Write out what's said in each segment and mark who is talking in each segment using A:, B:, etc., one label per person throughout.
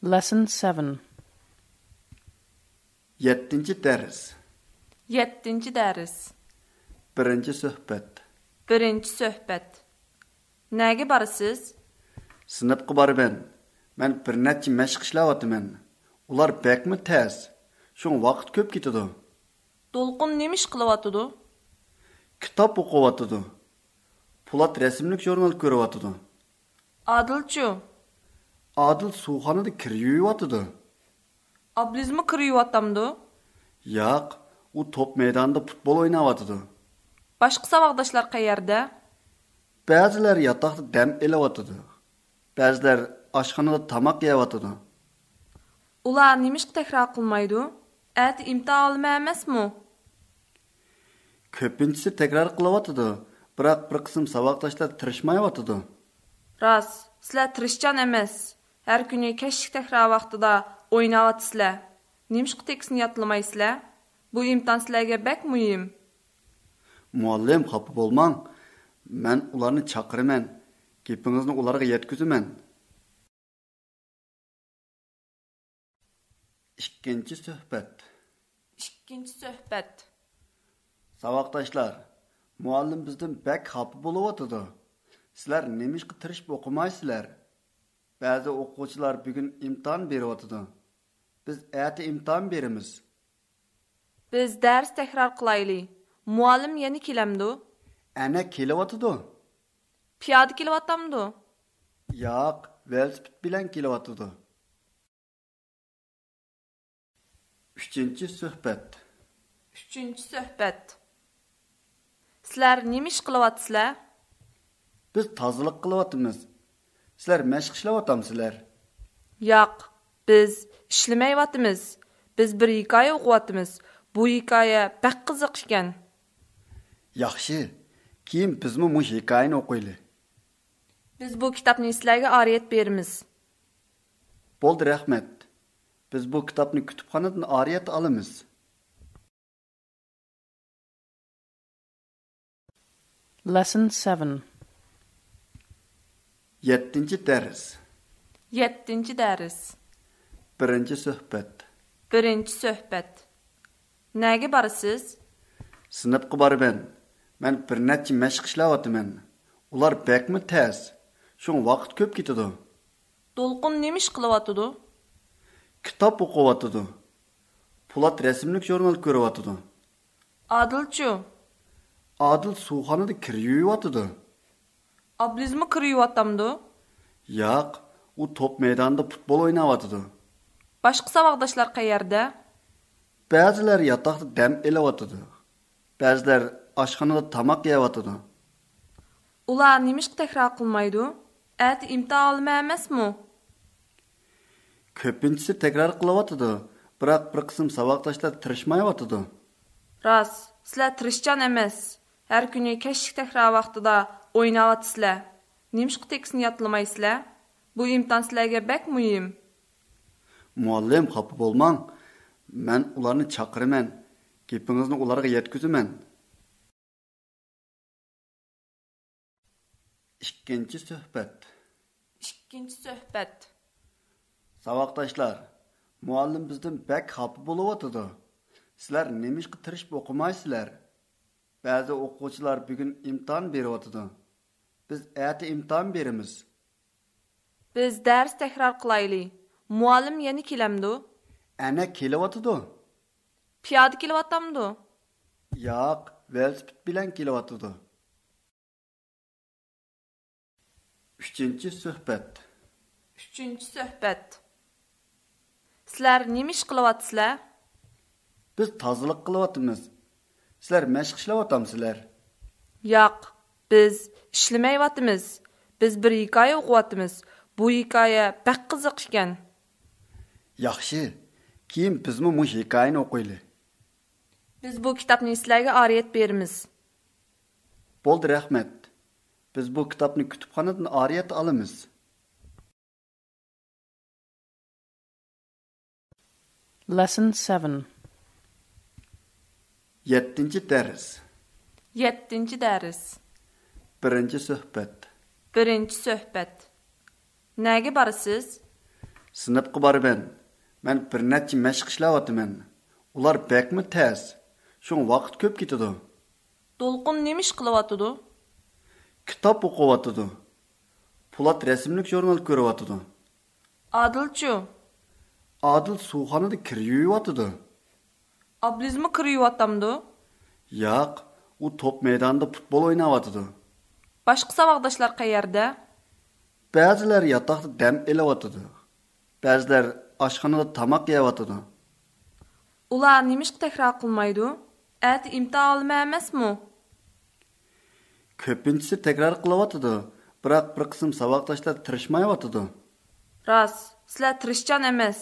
A: Lesson 7
B: 7-ci dərs.
C: 7-ci dərs.
B: 1-ci söhbət.
C: 1-ci söhbət. Nəyə barısız?
B: Sinifqa barıbən. Mən bir neçə məşq işləyatıman. Ular bəkmi təz. Şun vaxt köp ketidu.
C: Dolqun nəmiş qılıvatıdı?
B: Kitab oqıvatıdu. Polat rəsmlik jurnal görüvatıdu.
C: Adılçu,
B: Adil suxanada kir yuyuvatıdu.
C: ablizmi kırıyıvatamdı?
B: Yaq, u top meydanında futbol oynavatıdu.
C: Başqa savaqdaşlar qayerdə?
B: Bəzilər yataqda dəm eləvatıdu. Bəzilər aşxanada tamaq yeyavatıdu.
C: Ular nəmiş təkrar qılmaydı? Ət imtahan məməsmi?
B: Köpüncüsü təkrar qılavatıdu. Biroq bir qism savaqdaşlar tirishmayavatıdu.
C: Raz, sizlər tirişcan emas. Hər günü kəşik təkrar vaxtında oynavatsızlar. Nəmiş teksini yatılmaysızlar? Bu imtahan sizlərə bək mühim.
B: Muallim xafa bo'lmang. Men ularni chaqiraman. Gepingizni ularga yetkazaman. 2-chi suhbat.
C: İkinci söhbət.
B: Savoqdoshlar, muallim bizdan bak xafa bo'lib o'tadi. Sizlar nimishqa tirishib o'qimaysizlar? Ba'zi o'quvchilar bugun imtihon berib o'tadi. Biz erta imtihon beramiz.
C: Biz dərs təkrar qılaylı. Muallim yeni kiləmdi.
B: Ana kelib o'tadi.
C: Piyada kiləvatamdı.
B: Yo'q, velosiped bilan kelib o'tadi. 3-chi suhbat.
C: Üçüncü söhbət. Sizlər nimiş qılıvatsızlar?
B: Biz tozalik qilyapmiz. Sizlar mashq ishlayapsizlar.
C: Yoq, biz işləməyətimiz. Biz bir hekayə oxuyatımız. Bu hekayə bək qızıq ikən.
B: Yaxshi. Keyin bizmi bu hikoyani o'qiylik.
C: Biz bu kitabni sizlərə ariyət verimiz.
B: Bo'ldi, rahmat. Biz bu kitobni kutubxonadan oriyat olamiz.
A: Lesson 7
B: 7-chi dars.
C: 7-ci dərs.
B: 1-chi suhbat.
C: 1-ci söhbət. Nəyə barısız?
B: Sinfga boraman. Men bir necha mashq ishlayapman. Ular bakmi tez. Shun vaqt ko'p ketadi.
C: Dolqun nimiş qılıvatıdı?
B: Kitob o'qiyotidi. Polat rasmlik jurnal ko'ryotidi.
C: Adılçu,
B: Adil suvxonada kir yuyotidi.
C: ablizmi qırıyıvatamdı?
B: Yo'q, u top maydonida futbol o'ynayotidi.
C: Başqa savaqdaşlar qayerdə?
B: Bəziləri yataqda dəm eləyotıdı. Bəziləri aşxanada tamaq yeyotıdı.
C: Ular nimiş təkrar qılmaydı? Ət imtahan məməsmi?
B: Köpüncüsü təkrar qılayotıdı. Biroq bir qism savaqdaşlar tirishmayotıdı.
C: Raz, sizlər tirişcan emas. Hər günü kəşik təkrar vaxtında oynavatsızlar. Nimşq teksini yatılmaysızlar. Bu imtahan sizlərə bək mühim.
B: Muallim xafa bo'lmang. Men ularni chaqiraman. Gepingizni ularga yetkazaman. 2-chi suhbat.
C: İkinci söhbət.
B: Savaqdaşlar, muallim bizdan bək xafa bo'lib o'tadi. Sizlar nimishqa tirishib o'qimaysizlar? Ba'zi o'quvchilar bugun imtihon berib o'tadi. Biz erta imtihon beramiz.
C: Biz dərs təkrar qılaylı. Muallim yeni kiləmdi.
B: Ana kelib o'tadi.
C: Piyada kilvatamdı.
B: Yo'q, velosiped bilan kelib o'tadi. 3-chi suhbat.
C: Üçüncü söhbət. Sizlər nimiş qılavatsızlar?
B: Biz tozalik qilyapmiz. Sizlar mashq ishlayapsizlar.
C: Yoq, biz işləməyətimiz. Biz bir hekayə oxuyatımız. Bu hekayə bək qızıq ikən.
B: Yaxshi. Keyin bizmi bu hikoyani o'qiylik.
C: Biz bu kitabni sizlarga ariyat berimiz.
B: Bo'ldi, rahmat. Biz bu kitobni kutubxonadan oriyat olamiz.
A: Lesson 7
B: 7-chi dars.
C: 7-ci dərs.
B: 1-chi suhbat.
C: 1-ci söhbət. Nəyə barısız?
B: Сыныпқа барыбен. Мен бір нәтче мәшқ ішләватымын. Улар бәкме тәз. Шуң вақыт көп кетеді.
C: Dolqun nemish qilyotidi
B: Кітап оқыватыды. Пулат рәсімлік журнал көріватыды.
C: adilchu
B: Адыл суханыды кір юйватыды.
C: oblizmi kiriyotdamdu
B: Яқ, у топ мейданда футбол ойнаватыды.
C: boshqa saboqdoshlar qayerda
B: Бәзілер ятақты дәм елаватыды. Бәзілер ашханада тамақ яватыды.
C: ular nemish takror qilmaydi at imtihon olma emasmi
B: Көпіншісі тәкрар қылаватыды. Бірақ бір қысым сабақташтар тырышмайватыды.
C: rost sizlar tirishchan emas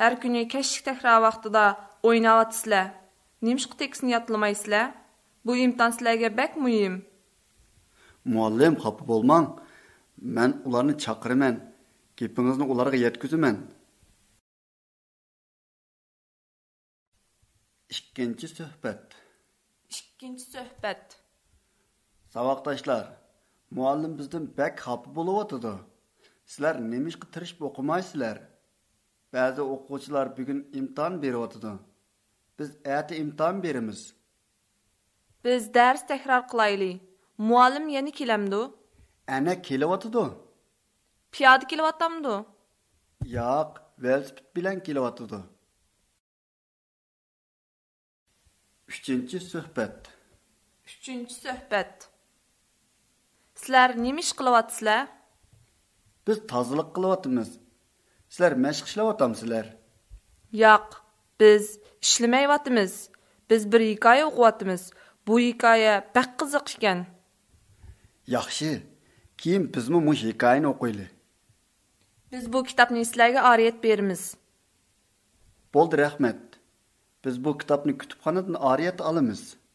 C: har kuni kashlik takror vaqtida o'ynayotisizlar nimshq tekisini yodlamaysizlar bu imtihon sizlarga bak muhim
B: Muallim xafa bo'lmang. Men ularni chaqiraman. Gepingizni ularga yetkazaman. Ikkinchi suhbat.
C: ikkinchi suhbat
B: Сабақташлар, muallim bizdan bak xafa bo'layotdi. Sizlar nimishqa tirishib o'qimaysizlar? Ba'zi o'quvchilar bugun imtihon beryotdi. Biz erta imtihon beramiz.
C: biz dars takror qilaylik muallim yana kelamdu
B: Ana kelyotdi.
C: piyoda kelyotdamdu
B: Yo'q, velosiped bilan kelyotdi. 3-chi suhbat.
C: uchinchi suhbat sizlar nima ish qilyapsizlar
B: Biz tozalik qilyapmiz. Sizlar mashq ishlayapsizlar.
C: yo'q biz ishlamayotimiz biz bir hikoya o'qiyotimiz bu hikoya baq qiziq ekan
B: Yaxshi. Keyin bizmi bu hikoyani o'qiylik.
C: biz bu kitobni sizlarga oriyat beramiz
B: Bo'ldi, rahmat. Biz bu kitobni kutubxonadan oriyat olamiz.